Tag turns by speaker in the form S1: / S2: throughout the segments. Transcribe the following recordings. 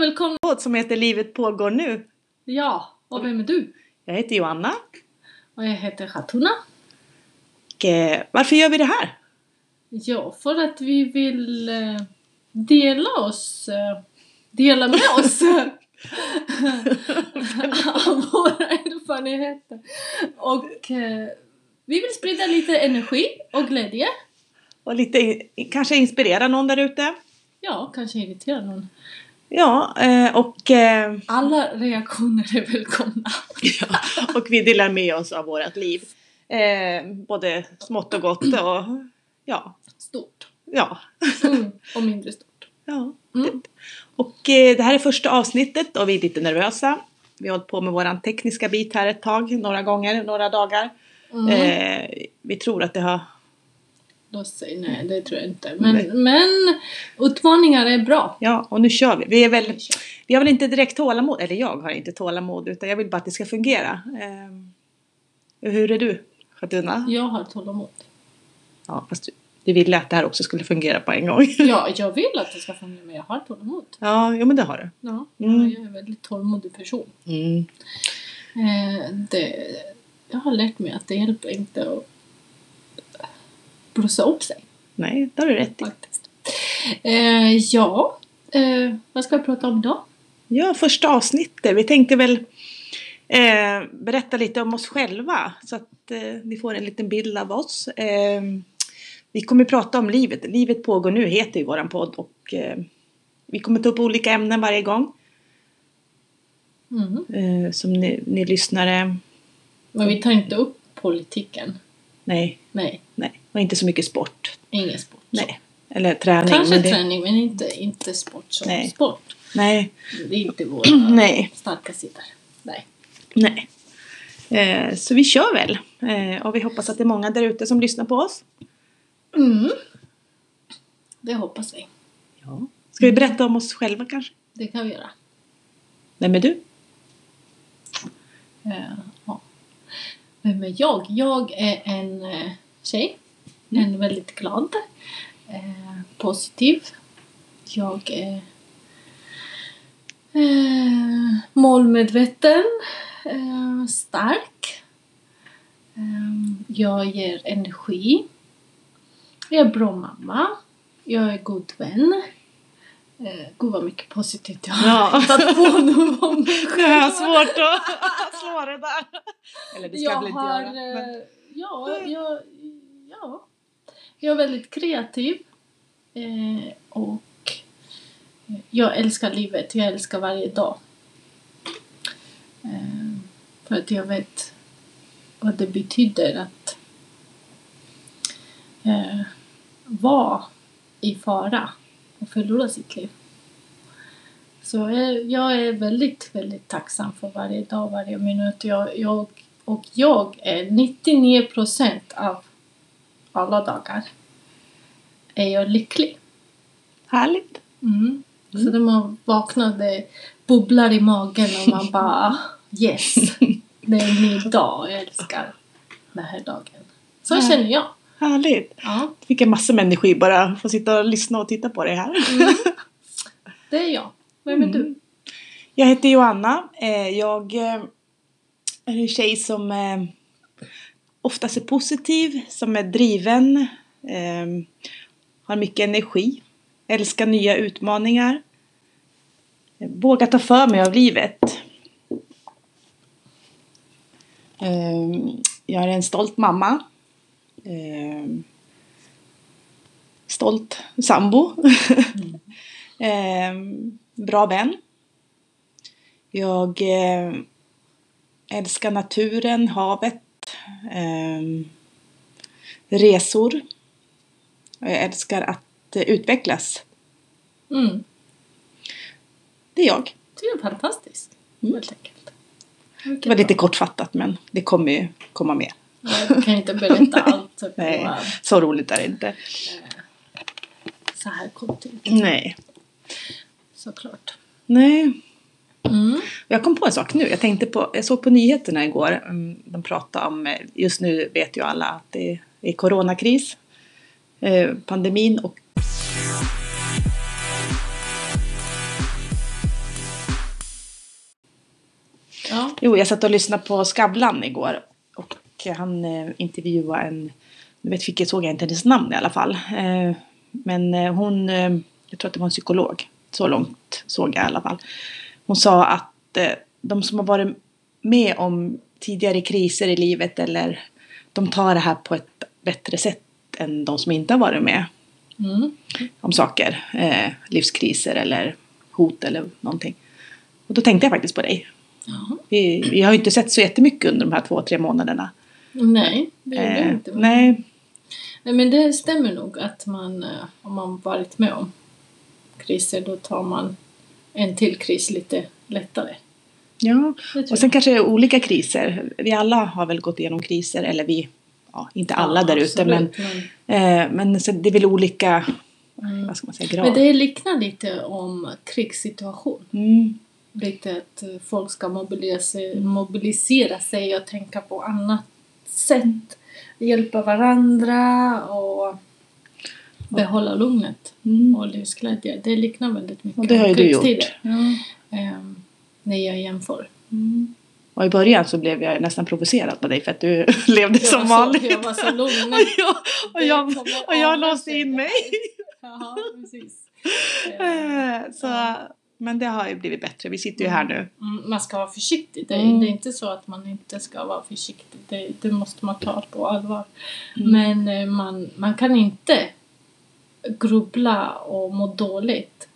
S1: välkomna!
S2: podd som heter Livet pågår nu.
S1: Ja, och vem är du?
S2: Jag heter Joanna.
S1: Och jag heter Hatuna.
S2: Och, eh, varför gör vi det här?
S1: Ja, för att vi vill eh, dela oss, eh, dela med oss av våra erfarenheter. Och eh, vi vill sprida lite energi och glädje.
S2: Och lite, in- kanske inspirera någon där ute.
S1: Ja, kanske irritera någon.
S2: Ja, eh, och, eh,
S1: Alla reaktioner är välkomna.
S2: och vi delar med oss av vårt liv. Eh, både smått och gott och ja,
S1: Stort.
S2: ja.
S1: Mm. Och mindre stort.
S2: ja.
S1: Mm.
S2: Och eh, det här är första avsnittet och vi är lite nervösa. Vi har hållit på med våran tekniska bit här ett tag, några gånger, några dagar.
S1: Mm.
S2: Eh, vi tror att det har...
S1: Då säger nej, det tror jag inte. Men, men utmaningar är bra.
S2: Ja, och nu kör vi. Vi är väl...
S1: Vi kör.
S2: Vi har väl inte direkt tålamod, eller jag har inte tålamod utan jag vill bara att det ska fungera. Ehm, hur är du Shatuna?
S1: Jag har tålamod.
S2: Ja, fast du, du ville att det här också skulle fungera på en gång.
S1: Ja, jag vill att det ska fungera men jag har tålamod.
S2: Ja, jo men det har du.
S1: Ja,
S2: Mm.
S1: Jag är en väldigt tålmodig person.
S2: Mm.
S1: Eh, det, jag har lärt mig att det hjälper inte att blossa upp sig
S2: Nej, det har du rätt i.
S1: faktiskt. Eh, ja, eh, vad ska vi prata om då?
S2: Ja, första avsnittet. Vi tänkte väl eh, berätta lite om oss själva så att eh, ni får en liten bild av oss. Ehm, vi kommer prata om livet. Livet pågår nu heter ju våran podd och eh, vi kommer ta upp olika ämnen varje gång
S1: Mm.
S2: eh, som ni, ni lyssnare
S1: Men vi tar inte upp politiken.
S2: Nej,
S1: Nej,
S2: nej. Och inte så mycket sport.
S1: ingen sport.
S2: Nej. Eller träning.
S1: Kanske
S2: men det-
S1: träning men inte, inte sport som
S2: Nej.
S1: sport.
S2: Nej,
S1: Det är inte våra
S2: Nej.
S1: starka sidor. Nej.
S2: nej. Eh, så vi kör väl. Eh, och vi hoppas att det är många där ute som lyssnar på oss.
S1: Mm. Det hoppas vi.
S2: Ja. Ska vi berätta om oss själva kanske?
S1: Det kan vi göra.
S2: Vem är du?
S1: Eh, ja. Vem är jag? Jag är en eh, tjej.
S2: Mm.
S1: En väldigt glad. Eh, positiv. Jag är eh, målmedveten. Eh, stark. Eh, jag ger energi. Jag är bra mamma. Jag är god vän. Eh, gud vad mycket positivt jag har
S2: Ja.
S1: hittat på nu om mig
S2: Det är svårt att slå det där. Eller det ska jag
S1: jag
S2: väl inte
S1: har,
S2: göra. Men...
S1: eh, Ja, jag, ja. Jag är väldigt kreativ. Eh, och jag älskar livet. Jag älskar varje dag. Eh, för att jag vet vad det betyder att eh, vara i fara och förlora sitt liv. Så jag, jag är väldigt, väldigt tacksam för varje dag, varje minut. Jag, jag, och jag är 99 procent av alla dagar är jag lycklig.
S2: Härligt.
S1: Mm. Så
S2: Mm.
S1: när man vaknar det bubblar i magen och man bara ah, yes, det är en ny dag. Jag älskar den här dagen. Så
S2: Ja.
S1: känner jag.
S2: Härligt.
S1: Ja,
S2: Fick en massa med energi bara få sitta och lyssna och titta på dig här.
S1: det är jag. Vem är
S2: Mm.
S1: du?
S2: Jag heter Joanna. Eh, Jag eh, är en tjej som eh, oftast är positiv, som är driven, eh, har mycket energi, älskar nya utmaningar, eh, vågar ta för mig av livet. Eh, Jag är en stolt mamma. eh, Stolt sambo. eh, Bra vän. Jag eh, älskar naturen, havet, ehm, resor. Och jag älskar att eh, utvecklas.
S1: Mm.
S2: Det är jag.
S1: Det är fantastiskt,
S2: Mm.
S1: helt enkelt.
S2: Det var lite kortfattat men det kommer ju komma mer.
S1: Jag kan inte berätta allt på
S2: Nej,
S1: eh,
S2: så roligt är det inte.
S1: så här kort tid,
S2: Nej.
S1: såklart.
S2: Nej.
S1: Mm.
S2: Jag kom på en sak nu. Jag, tänkte på, jag såg på nyheterna igår. mm, De pratade om, eh, just nu vet ju alla att det är coronakris, eh, pandemin och Jo, jag satt och lyssnade på Skavlan igår. Och han eh, intervjuade en, nu vet fick jag, såg jag inte hennes namn i alla fall. Eh, men eh, hon, eh, jag tror att det var en psykolog. Så långt såg jag i alla fall. Hon sa att eh, de som har varit med om tidigare kriser i livet eller de tar det här på ett bättre sätt än de som inte har varit med
S1: Mm.
S2: om saker. Eh, livskriser eller hot eller någonting. Och då tänkte jag faktiskt på dig.
S1: Ja.
S2: Vi, vi har ju inte sett så jättemycket under de här två, tre månaderna.
S1: Nej, det gjorde
S2: Eh,
S1: jag inte. Nej.
S2: nej,
S1: men det stämmer nog att man, eh, om man varit med om kriser, då tar man en till kris lite lättare.
S2: ja.
S1: Det tror
S2: Och sen kanske olika kriser. Vi alla har väl gått igenom kriser, eller vi, ja, inte
S1: jag.
S2: alla
S1: Ja,
S2: där ute, men,
S1: absolut, men...
S2: eh, men så det är väl olika,
S1: Mm.
S2: vad ska man säga, grad.
S1: Men det liknar lite om krigssituation.
S2: Mm,
S1: Lite att eh, folk ska mobilisera, mobilisera sig och tänka på annat sätt. Hjälpa varandra och behålla lugnet
S2: mm.
S1: och livsglädje. Det liknar väldigt mycket
S2: Och det har ju du gjort.
S1: krigstider.
S2: Ja.
S1: Ehm, när jag jämför.
S2: Mm. Och i början så blev jag nästan provocerad på dig för att du levde
S1: Jag
S2: som
S1: var så-
S2: vanligt.
S1: Jag var så
S2: och
S1: lugn.
S2: jag, och
S1: Det
S2: jag,
S1: kommer
S2: och jag
S1: ångra
S2: låste
S1: sig.
S2: in mig.
S1: Ja, precis. Ehm,
S2: Eh, Så, Men det har ju blivit bättre. Vi sitter ju här nu.
S1: Mm, man ska vara försiktig. Det,
S2: Mm.
S1: det är inte så att man inte ska vara försiktig. Det, det måste man ta på allvar.
S2: Mm.
S1: Men eh, man, man kan inte grubbla och må dåligt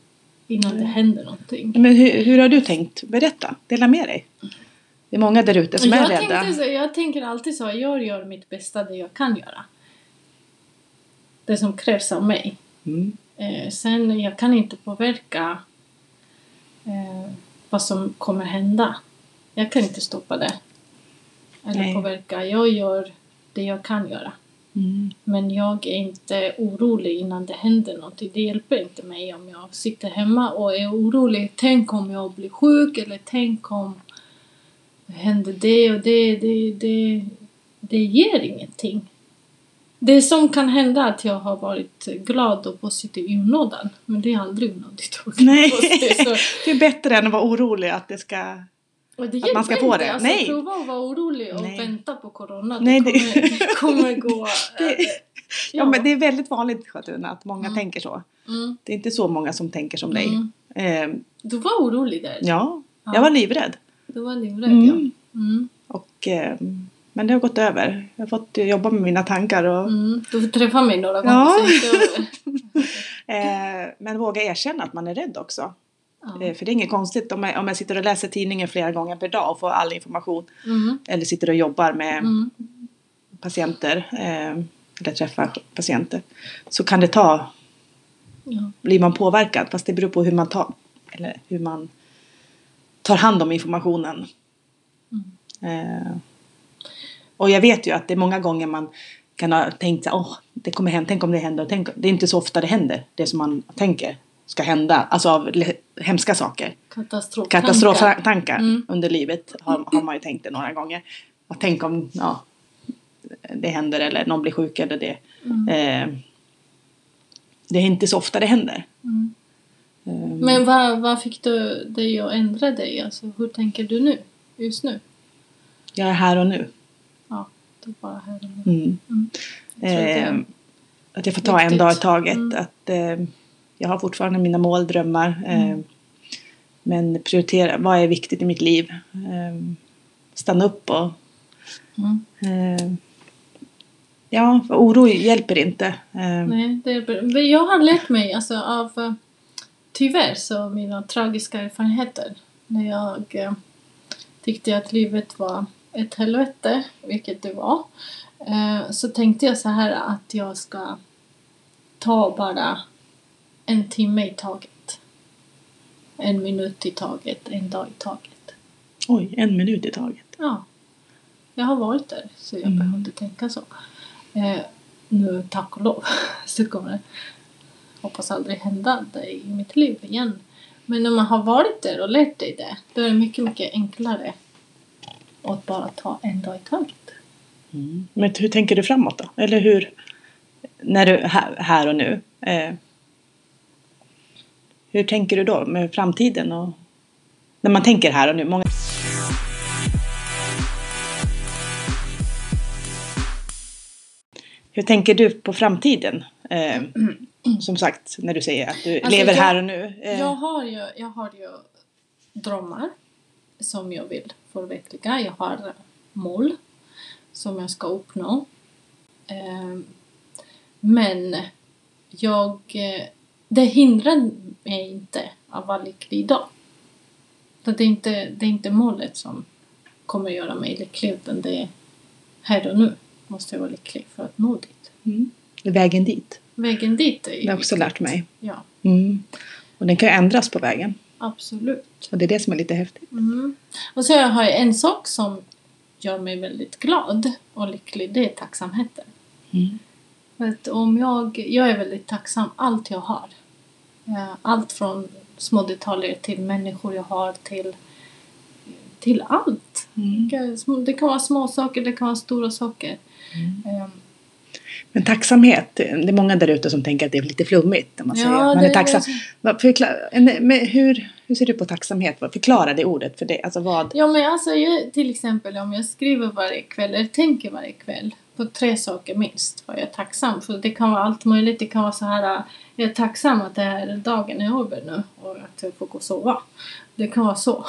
S1: innan det händer någonting.
S2: Men hur, hur har du tänkt? Berätta, dela med dig. Det är många där ute som är
S1: Jag,
S2: rädda.
S1: tänkte så, jag tänker alltid så. Jag gör mitt bästa det jag kan göra. Det som krävs av mig.
S2: Mm.
S1: Eh, sen, jag kan inte påverka eh, vad som kommer hända. Jag kan inte stoppa det. Eller
S2: Nej.
S1: påverka. Jag gör det jag kan göra.
S2: Mm.
S1: Men jag är inte orolig innan det händer någonting. Det hjälper inte mig om jag sitter hemma och är orolig. Tänk om jag blir sjuk eller tänk om händer det och det. Det, det, det ger ingenting. Det som kan hända är att jag har varit glad och positiv i onödan. Men det är aldrig onödigt. att vara
S2: Nej.
S1: positiv, så-
S2: Det är bättre än att vara orolig att det ska...
S1: och det
S2: Att man ska
S1: hjälper
S2: få
S1: inte.
S2: det.
S1: Alltså,
S2: Nej.
S1: Prova att vara orolig och
S2: Nej.
S1: vänta på corona.
S2: Nej,
S1: det,
S2: det-
S1: kommer, det kommer gå...
S2: Det-
S1: eh,
S2: Ja, men det är väldigt vanligt Sjötuna att många
S1: Mm.
S2: tänker så.
S1: Mm.
S2: Det är inte så många som tänker som dig.
S1: Mm.
S2: Eh,
S1: Du var orolig där?
S2: ja,
S1: Ja.
S2: jag var livrädd.
S1: Du var livrädd
S2: Mm.
S1: ja. Mm.
S2: Och, eh, men det har gått över. Jag har fått jobba med mina tankar och
S1: Mm. Du får träffa mig några gånger
S2: Ja.
S1: sen. Så,
S2: Eh, men våga erkänna att man är rädd också.
S1: ja.
S2: Eh, för det är inget konstigt om jag, om jag sitter och läser tidningen flera gånger per dag och får all information.
S1: Mm.
S2: Eller sitter och jobbar med
S1: Mm.
S2: patienter. Eh, eller träffar patienter. Så kan det ta,
S1: Ja.
S2: blir man påverkad. Fast det beror på hur man tar, eller hur man tar hand om informationen. Eh, och jag vet ju att det är många gånger man kan ha tänkt så här, åh, det kommer hända, tänk om det händer, tänk om-" Det är inte så ofta det händer, det som man tänker ska hända, alltså av le- hemska saker.
S1: Katastrof.
S2: Katastroftankar
S1: Mm.
S2: under livet har, har man ju tänkt det några gånger. Att tänk om ja, det händer eller någon blir sjuk eller det.
S1: Mm.
S2: Eh, det är inte så ofta det händer.
S1: Mm.
S2: Eh,
S1: Men vad, vad fick du dig att ändra dig? Alltså, hur tänker du nu? Just nu?
S2: jag är här och nu.
S1: Ja, det är bara här och nu.
S2: Mm.
S1: Mm. Jag tror
S2: Eh,
S1: inte-
S2: att jag får ta en
S1: viktigt.
S2: dag i taget.
S1: Mm.
S2: Att, eh, jag har fortfarande mina mål, drömmar. Eh,
S1: Mm.
S2: men prioritera, vad är viktigt i mitt liv? Eh, stanna upp och...
S1: Mm.
S2: Eh, ja, för oro hjälper inte. Eh,
S1: Nej, det är bra. Men Jag har lärt mig alltså, av eh, tyvärr så mina tragiska erfarenheter när jag eh, tyckte att livet var ett helvete, vilket det var. Eh, så tänkte jag så här att jag ska ta bara en timme i taget. En minut i taget, en dag i taget.
S2: Oj, en minut i taget.
S1: Ja, jag har varit där så jag
S2: Mm.
S1: behöver inte tänka så. Eh, nu, tack och lov, så kommer det hoppas aldrig hända det i mitt liv igen. Men när man har varit där och lärt dig det, då är det mycket, mycket enklare att bara ta en dag i taget.
S2: Mm. Men hur tänker du framåt då? Eller hur? När du, här, här och nu. Eh, hur tänker du då med framtiden? Och, när man tänker här och nu. Många... Hur tänker du på framtiden? Eh, som sagt, när du säger att du
S1: Alltså,
S2: lever
S1: jag-
S2: här och nu. Eh,
S1: Jag har ju, jag har ju drömmar som jag vill förverkliga. Jag har mål som jag ska uppnå. Ehm, Men jag, eh, det hindrar mig inte att vara lycklig idag. Så Det är, inte, det är inte målet som kommer göra mig lycklig utan det är här och nu måste jag vara lycklig för att nå dit.
S2: Mm. Vägen dit.
S1: Vägen dit är
S2: Det har
S1: ju...
S2: jag också lärt mig.
S1: Ja,
S2: Mm. Och den kan ju ändras på vägen.
S1: absolut.
S2: Och det är det som är lite häftigt.
S1: Mm. Och så har jag en sak som gör mig väldigt glad och lycklig, det är tacksamheten.
S2: Mm.
S1: För att om jag, jag är väldigt tacksam allt jag har. Eh, Allt från små detaljer till människor jag har till, till allt.
S2: Mm.
S1: Det kan- små- Det kan vara små saker, det kan vara stora saker. Eh,
S2: Men tacksamhet, det är många där ute som tänker att det är lite flummigt när man
S1: Ja,
S2: säger att man
S1: det
S2: är
S1: är
S2: tacksam.
S1: så.
S2: Vad- förkla- en- men hur, hur ser du på tacksamhet? Vad- Förklara det ordet för det. Alltså vad?
S1: Ja men alltså jag, till exempel om jag skriver varje kväll eller tänker varje kväll på tre saker minst vad jag är tacksam för. Det kan vara allt möjligt. Det kan vara så här äh, jag är tacksam att den här dagen är över nu och att jag får gå och sova. Det kan vara så.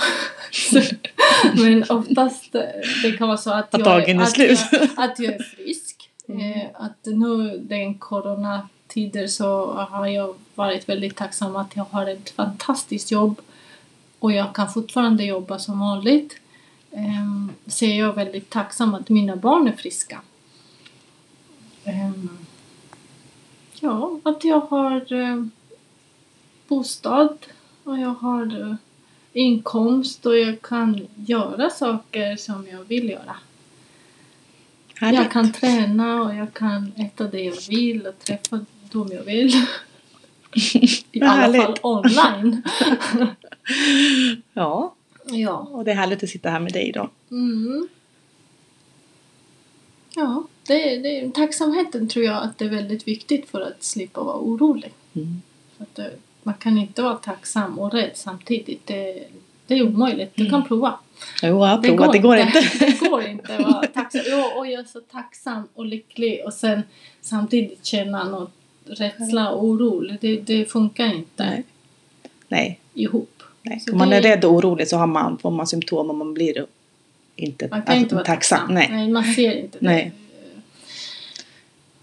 S1: men oftast eh, det kan vara så att,
S2: Att
S1: jag,
S2: dagen är
S1: att,
S2: slut.
S1: jag, att jag är frisk.
S2: Mm.
S1: Eh, att nu den coronatider så har jag varit väldigt tacksam att jag har ett fantastiskt jobb och jag kan fortfarande jobba som vanligt. Ehm, så är jag väldigt tacksam att mina barn är friska. Ehm, ja, att jag har eh, bostad och jag har eh, inkomst och jag kan göra saker som jag vill göra. Jag
S2: Härligt.
S1: kan träna och jag kan äta det jag vill och träffa dem jag vill. I
S2: Vad
S1: alla fall
S2: härligt.
S1: online.
S2: Ja,
S1: ja.
S2: och det är härligt att sitta här med dig idag.
S1: Mm. Ja, det, det, tacksamheten tror jag att det är väldigt viktigt för att slippa vara orolig.
S2: Mm.
S1: För att, eh, man kan inte vara tacksam och rädd samtidigt. Det, det är omöjligt. Du
S2: Mm.
S1: kan prova.
S2: Jo, jag har provat, det går inte.
S1: Det går inte att vara tacksam. Jo, och jag är så tacksam och lycklig och sen samtidigt känna något rädsla och oro. Det, det funkar inte
S2: Nej. Nej,
S1: ihop.
S2: nej.
S1: Så
S2: om man
S1: det-
S2: är rädd och orolig så har man, får man symptom och man blir inte,
S1: Man kan
S2: alltså,
S1: inte vara
S2: tacksam. Nej.
S1: man ser inte det.
S2: Nej.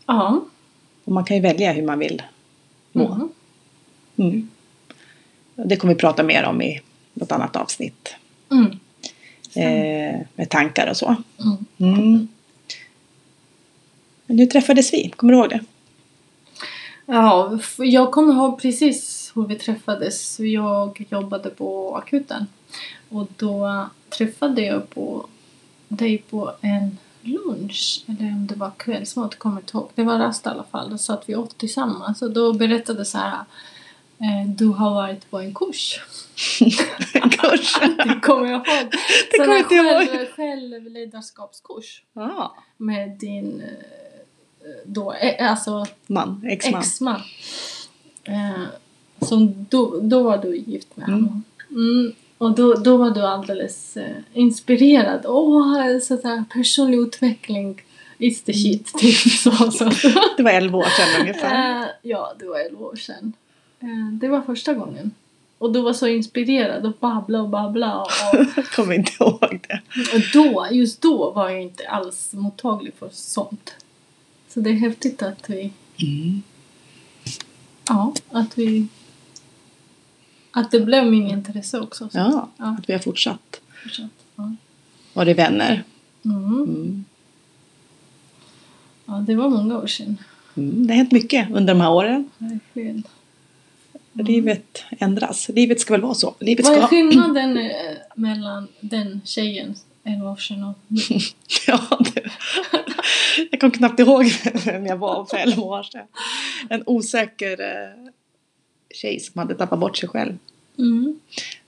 S1: Ja.
S2: Och man kan ju välja hur man vill må.
S1: Mhm.
S2: Mm. Det kommer vi prata mer om i något annat avsnitt.
S1: Mm.
S2: Eh, med tankar och så.
S1: Mm.
S2: Mm. Men nu träffades vi, kommer du ihåg det?
S1: Ja, f- jag kommer ihåg precis hur vi träffades. Jag jobbade på akuten och då träffade jag på dig på en lunch eller om det var kvällsmat, kommer inte ihåg. Det var rast i alla fall. Då satt vi åt tillsammans och då berättade så här eh, du har varit på en kurs.
S2: En kurs.
S1: Det kommer jag ihåg.
S2: Det
S1: Sån
S2: kommer
S1: här
S2: inte jag ihåg.
S1: själv, självledarskapskurs
S2: Ja.
S1: med din eh, då, eh, alltså
S2: Man, exman.
S1: exman. Eh, som då, då var du gift med honom. Mm. Och då, då var du alldeles eh, inspirerad. Åh, sådär personlig utveckling is the shit. Typ så. så.
S2: Det var 11 år sedan ungefär.
S1: eh, ja, det var 11 år sedan. Eh, det var första gången. Och du var så inspirerad och babbla och babbla. Och,
S2: kommer inte ihåg det.
S1: och då, just då var jag inte alls mottaglig för sånt. Så det är häftigt att vi
S2: Mm.
S1: Ja, att vi... Att det blev min intresse också. Så.
S2: Ja,
S1: Ja.
S2: att vi har fortsatt.
S1: fortsätt. Ja.
S2: Var det vänner?
S1: Mm.
S2: Mm.
S1: ja, det var många år sedan.
S2: Mm. Det har hänt mycket under de här åren.
S1: Verkligen.
S2: Mm. Livet ändras. Livet ska väl vara så. Livet
S1: Vad är
S2: ska...
S1: skillnaden eh, mellan den tjejen 11 år sedan och nu?
S2: Ja, det... Jag kommer knappt ihåg vem jag var för 11 år sedan. En osäker eh, tjej som hade tappat bort sig själv.
S1: Mm.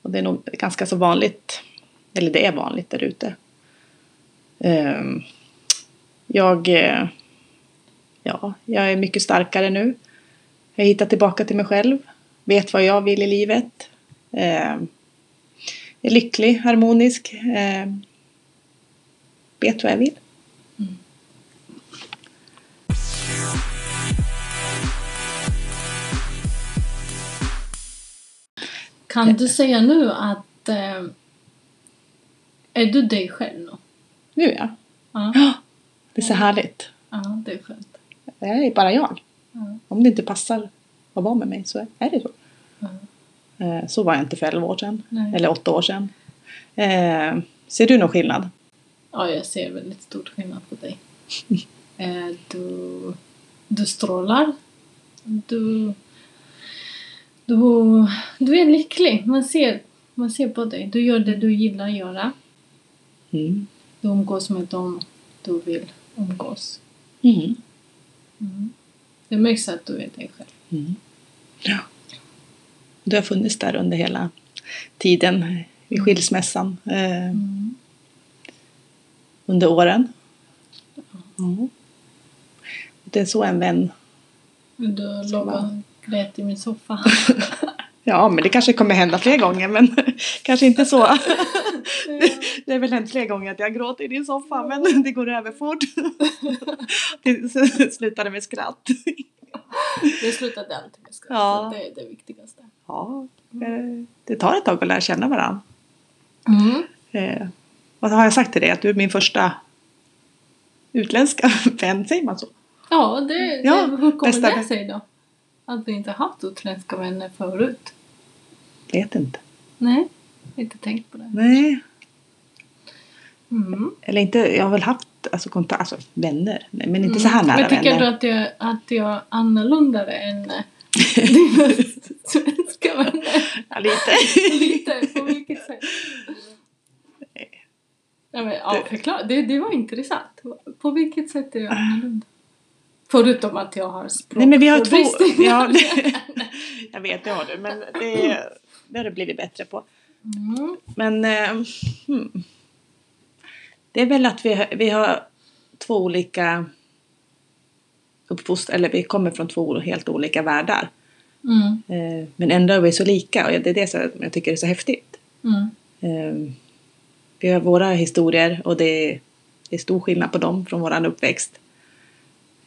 S2: Och det är nog ganska så vanligt. Eller det är vanligt där ute. Ehm, jag, eh, ja, jag är mycket starkare nu. Jag hittar tillbaka till mig själv. Vet vad jag vill i livet. Ehm, är lycklig, harmonisk. ehm, vet vad jag vill.
S1: Kan
S2: Eh.
S1: du säga nu att eh, är du dig själv nu?
S2: Nu ja.
S1: Ja,
S2: Ja, Det är så härligt.
S1: ja det är skönt.
S2: Det här är bara jag.
S1: Ja.
S2: Om det inte passar att vara med mig så är det så.
S1: Ja.
S2: Eh, Så var jag inte för 11 år sedan.
S1: Nej.
S2: Eller 8 år sedan. Eh, Ser du någon skillnad?
S1: Ja, jag ser väldigt stor skillnad på dig. Eh, du, du strålar. Du, du, du är lycklig. Man ser, man ser på dig. Du gör det du gillar att göra.
S2: Mm.
S1: Du umgås med dem du vill umgås.
S2: Mm.
S1: Mm. Det märks att du är dig själv.
S2: Mm. Ja. Du har funnits där under hela tiden i skilsmässan. Eh,
S1: Mm.
S2: under åren. Mm. Det är så en vän...
S1: Du
S2: Så
S1: låg och
S2: bra.
S1: grät i min soffa.
S2: Ja, men det kanske kommer hända fler gånger, men kanske inte så. Det är väl hänt fler gånger att jag gråter i din soffa, men det går över fort. Det slutade med skratt.
S1: det slutade alltid med skratt.
S2: Ja.
S1: Det är det viktigaste.
S2: Ja, eh, det tar ett tag att lära känna varandra.
S1: Mm.
S2: Eh, vad har jag sagt till dig? Att du är min första utländska vän, säger man så?
S1: Ja, det,
S2: Ja,
S1: det, hur kommer
S2: bästa
S1: det
S2: vän.
S1: sig då? Att vi inte haft utländska vänner förut?
S2: Vet inte.
S1: Nej, inte tänkt på det.
S2: Nej,
S1: Mm.
S2: eller inte. Jag har väl haft alltså, kontakt, alltså vänner, nej, men inte så här
S1: Mm.
S2: nära
S1: Men tycker
S2: vänner.
S1: du att jag, att jag är annorlunda än eh, dina svenska vänner?
S2: Ja, lite.
S1: Lite, på vilket sätt? Nej, men, ja, förklara. Det, det var intressant. På vilket sätt är jag annorlunda? Förutom att jag har språk
S2: Nej, men vi har två...
S1: förbristningar.
S2: Ja, det, jag vet, det har du, men det, det har du blivit bättre på.
S1: Mm.
S2: Men eh, hmm. det är väl att vi, har- vi har två olika uppfost, eller vi kommer från två helt olika världar.
S1: Mm.
S2: Eh, men ändå är vi så lika och det är det som jag tycker är så häftigt.
S1: Mm.
S2: Eh, vi har våra historier och det är, det är stor skillnad på dem från våran uppväxt.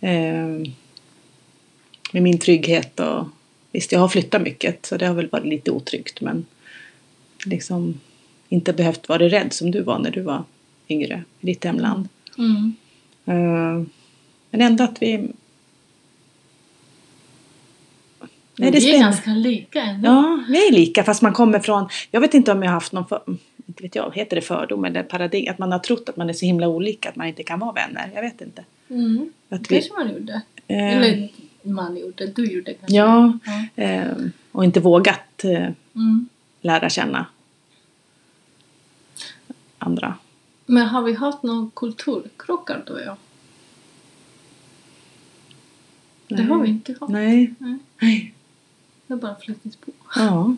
S2: Eh, med min trygghet och visst, jag har flyttat mycket så det har väl varit lite otryggt men liksom inte behövt vara rädd som du var när du var yngre i ditt hemland.
S1: Mm.
S2: Eh, men ändå att vi...
S1: Men
S2: Nej, det är
S1: vi är
S2: spännande.
S1: ganska lika ändå.
S2: Ja, vi är lika fast man kommer från, jag vet inte om jag har haft någon, för, inte vet jag, heter det fördom eller paradigm, att man har trott att man är så himla olika att man inte kan vara vänner, jag vet inte.
S1: Mm.
S2: Att vi,
S1: kanske man gjorde.
S2: eh,
S1: Eller man gjorde, du gjorde kanske.
S2: ja,
S1: Ja.
S2: eh, och inte vågat eh,
S1: Mm.
S2: lära känna andra.
S1: Men har vi haft någon kulturkrockar då ja? Det
S2: Nej.
S1: har vi inte haft.
S2: Nej.
S1: Nej.
S2: Nej.
S1: Det har bara flutit på.
S2: Ja.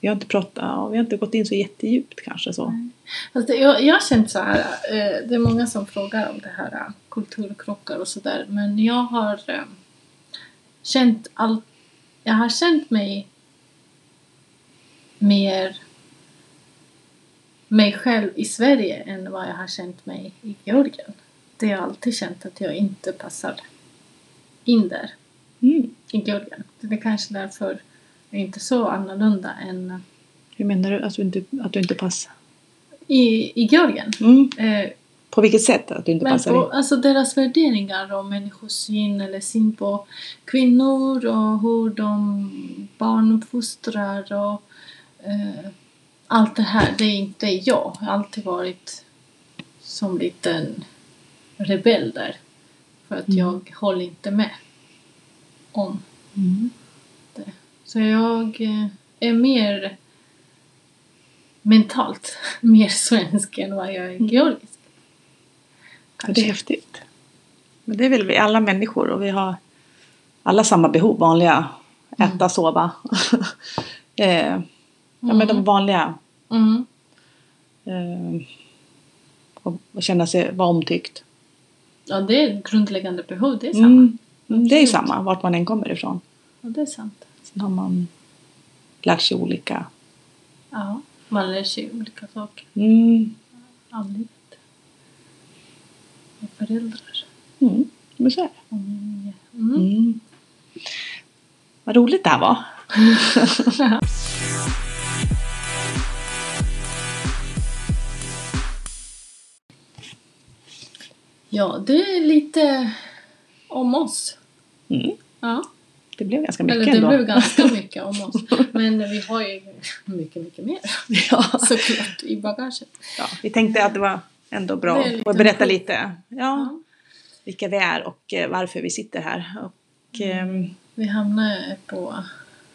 S2: Vi har inte pratat, ja, vi har inte gått in så jättedjupt kanske så.
S1: Nej. Fast det, Alltså, jag, jag har känt så här, eh, det är många som frågar om det här eh, kulturkrockar och sådär men jag har eh, känt allt, jag har känt mig mer mig själv i Sverige än vad jag har känt mig i Georgien. Det har jag alltid känt att jag inte passar in där
S2: Mm.
S1: i Georgien. Det är kanske därför jag är inte så annorlunda än
S2: Hur menar du att du inte, att du inte passar?
S1: i, i Georgien.
S2: Mm.
S1: Eh,
S2: På vilket sätt att du inte
S1: Men
S2: passar
S1: på,
S2: in?
S1: alltså deras värderingar och människosyn eller syn på kvinnor och hur de barnuppfostrar och eh, allt det här, det är inte jag. Jag har alltid varit som liten rebell där. För att
S2: Mm.
S1: jag håller inte med om
S2: Mm.
S1: så jag eh, är mer mentalt mer svensk än vad jag är georgisk.
S2: Ja, Det är häftigt. Men det är väl vi alla människor och vi har alla samma behov, vanliga. Äta,
S1: Mm.
S2: sova. eh, Ja men de vanliga.
S1: Mm.
S2: Eh, och, och känna sig vara omtyckt.
S1: Ja, det är grundläggande behov, det är samma.
S2: Mm. Mm, Det är ju
S1: Absolut.
S2: samma vart man än kommer ifrån.
S1: Ja, det är sant.
S2: Sen har man lärt sig olika.
S1: Ja, man lär sig olika saker
S2: Mm.
S1: av livet. Av föräldrar.
S2: Mm. Men så är det.
S1: Omgivningar. Mm.
S2: Mm. Vad roligt det här var.
S1: Ja, det är lite om oss.
S2: Mm.
S1: Ja.
S2: Det blev ganska mycket
S1: Eller det
S2: ändå.
S1: blev ganska mycket om oss. Men vi har ju mycket, mycket mer
S2: ja.
S1: såklart i bagaget.
S2: ja, vi tänkte att det var ändå bra
S1: Det är lite
S2: att berätta
S1: kul.
S2: lite. Ja,
S1: Ja.
S2: vilka vi är och eh, varför vi sitter här. Och, ehm,
S1: Vi hamnar på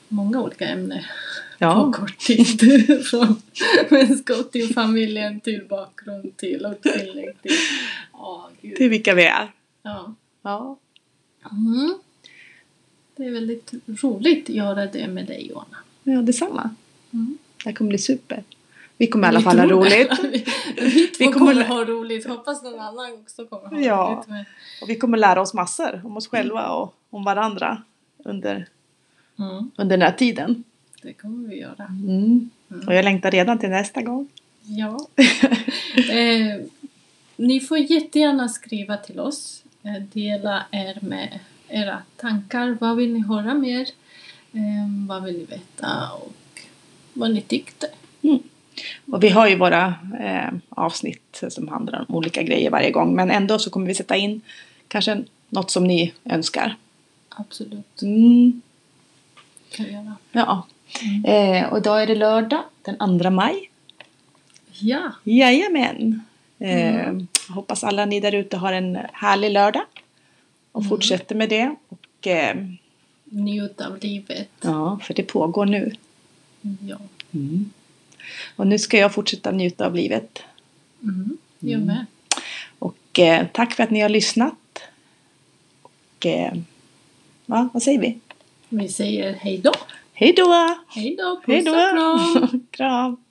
S1: många olika ämnen på
S2: ja,
S1: kort tid. Från vänskap till familjen, till bakgrund, till utbildning, till... Ja,
S2: till
S1: gud.
S2: vilka vi är.
S1: Ja.
S2: Ja,
S1: Mm. Det är väldigt roligt att göra det med dig, Johanna.
S2: ja detsamma.
S1: Mm.
S2: Det här kommer bli super. Vi kommer i alla
S1: Vi
S2: fall ha
S1: tror det.
S2: roligt.
S1: vi, vi två
S2: Vi kommer-
S1: kommer, ha roligt. Hoppas någon annan också kommer ha
S2: Ja.
S1: roligt. Med.
S2: Och vi kommer lära oss massor om oss själva och om varandra under,
S1: Mm.
S2: under den här tiden.
S1: Det kommer vi göra.
S2: Mm.
S1: Mm.
S2: Och jag längtar redan till nästa gång.
S1: Ja. eh, ni får jättegärna skriva till oss. Eh, dela er med era tankar. Vad vill ni höra mer? Eh, vad vill ni veta? Och vad ni tyckte.
S2: Och vi har ju våra eh, avsnitt som handlar om olika grejer varje gång. Men ändå så kommer vi sätta in kanske något som ni önskar.
S1: Absolut.
S2: Mm,
S1: Kan vi göra.
S2: ja.
S1: Mm.
S2: Eh, och idag är det lördag den 2 maj.
S1: Ja.
S2: Jajamän! Eh,
S1: Mm.
S2: Hoppas alla ni där ute har en härlig lördag. Och
S1: Mm.
S2: fortsätter med det. Och, eh,
S1: Njut av livet.
S2: ja, för det pågår nu.
S1: Ja.
S2: Och nu ska jag fortsätta njuta av livet.
S1: Mm. Jag
S2: Mm.
S1: med.
S2: Och eh, tack för att ni har lyssnat. Och eh, va? vad säger vi?
S1: Vi säger hej då.
S2: Hej då!
S1: Hej då.
S2: Hej
S1: Puss och
S2: då!
S1: kram.
S2: Kram!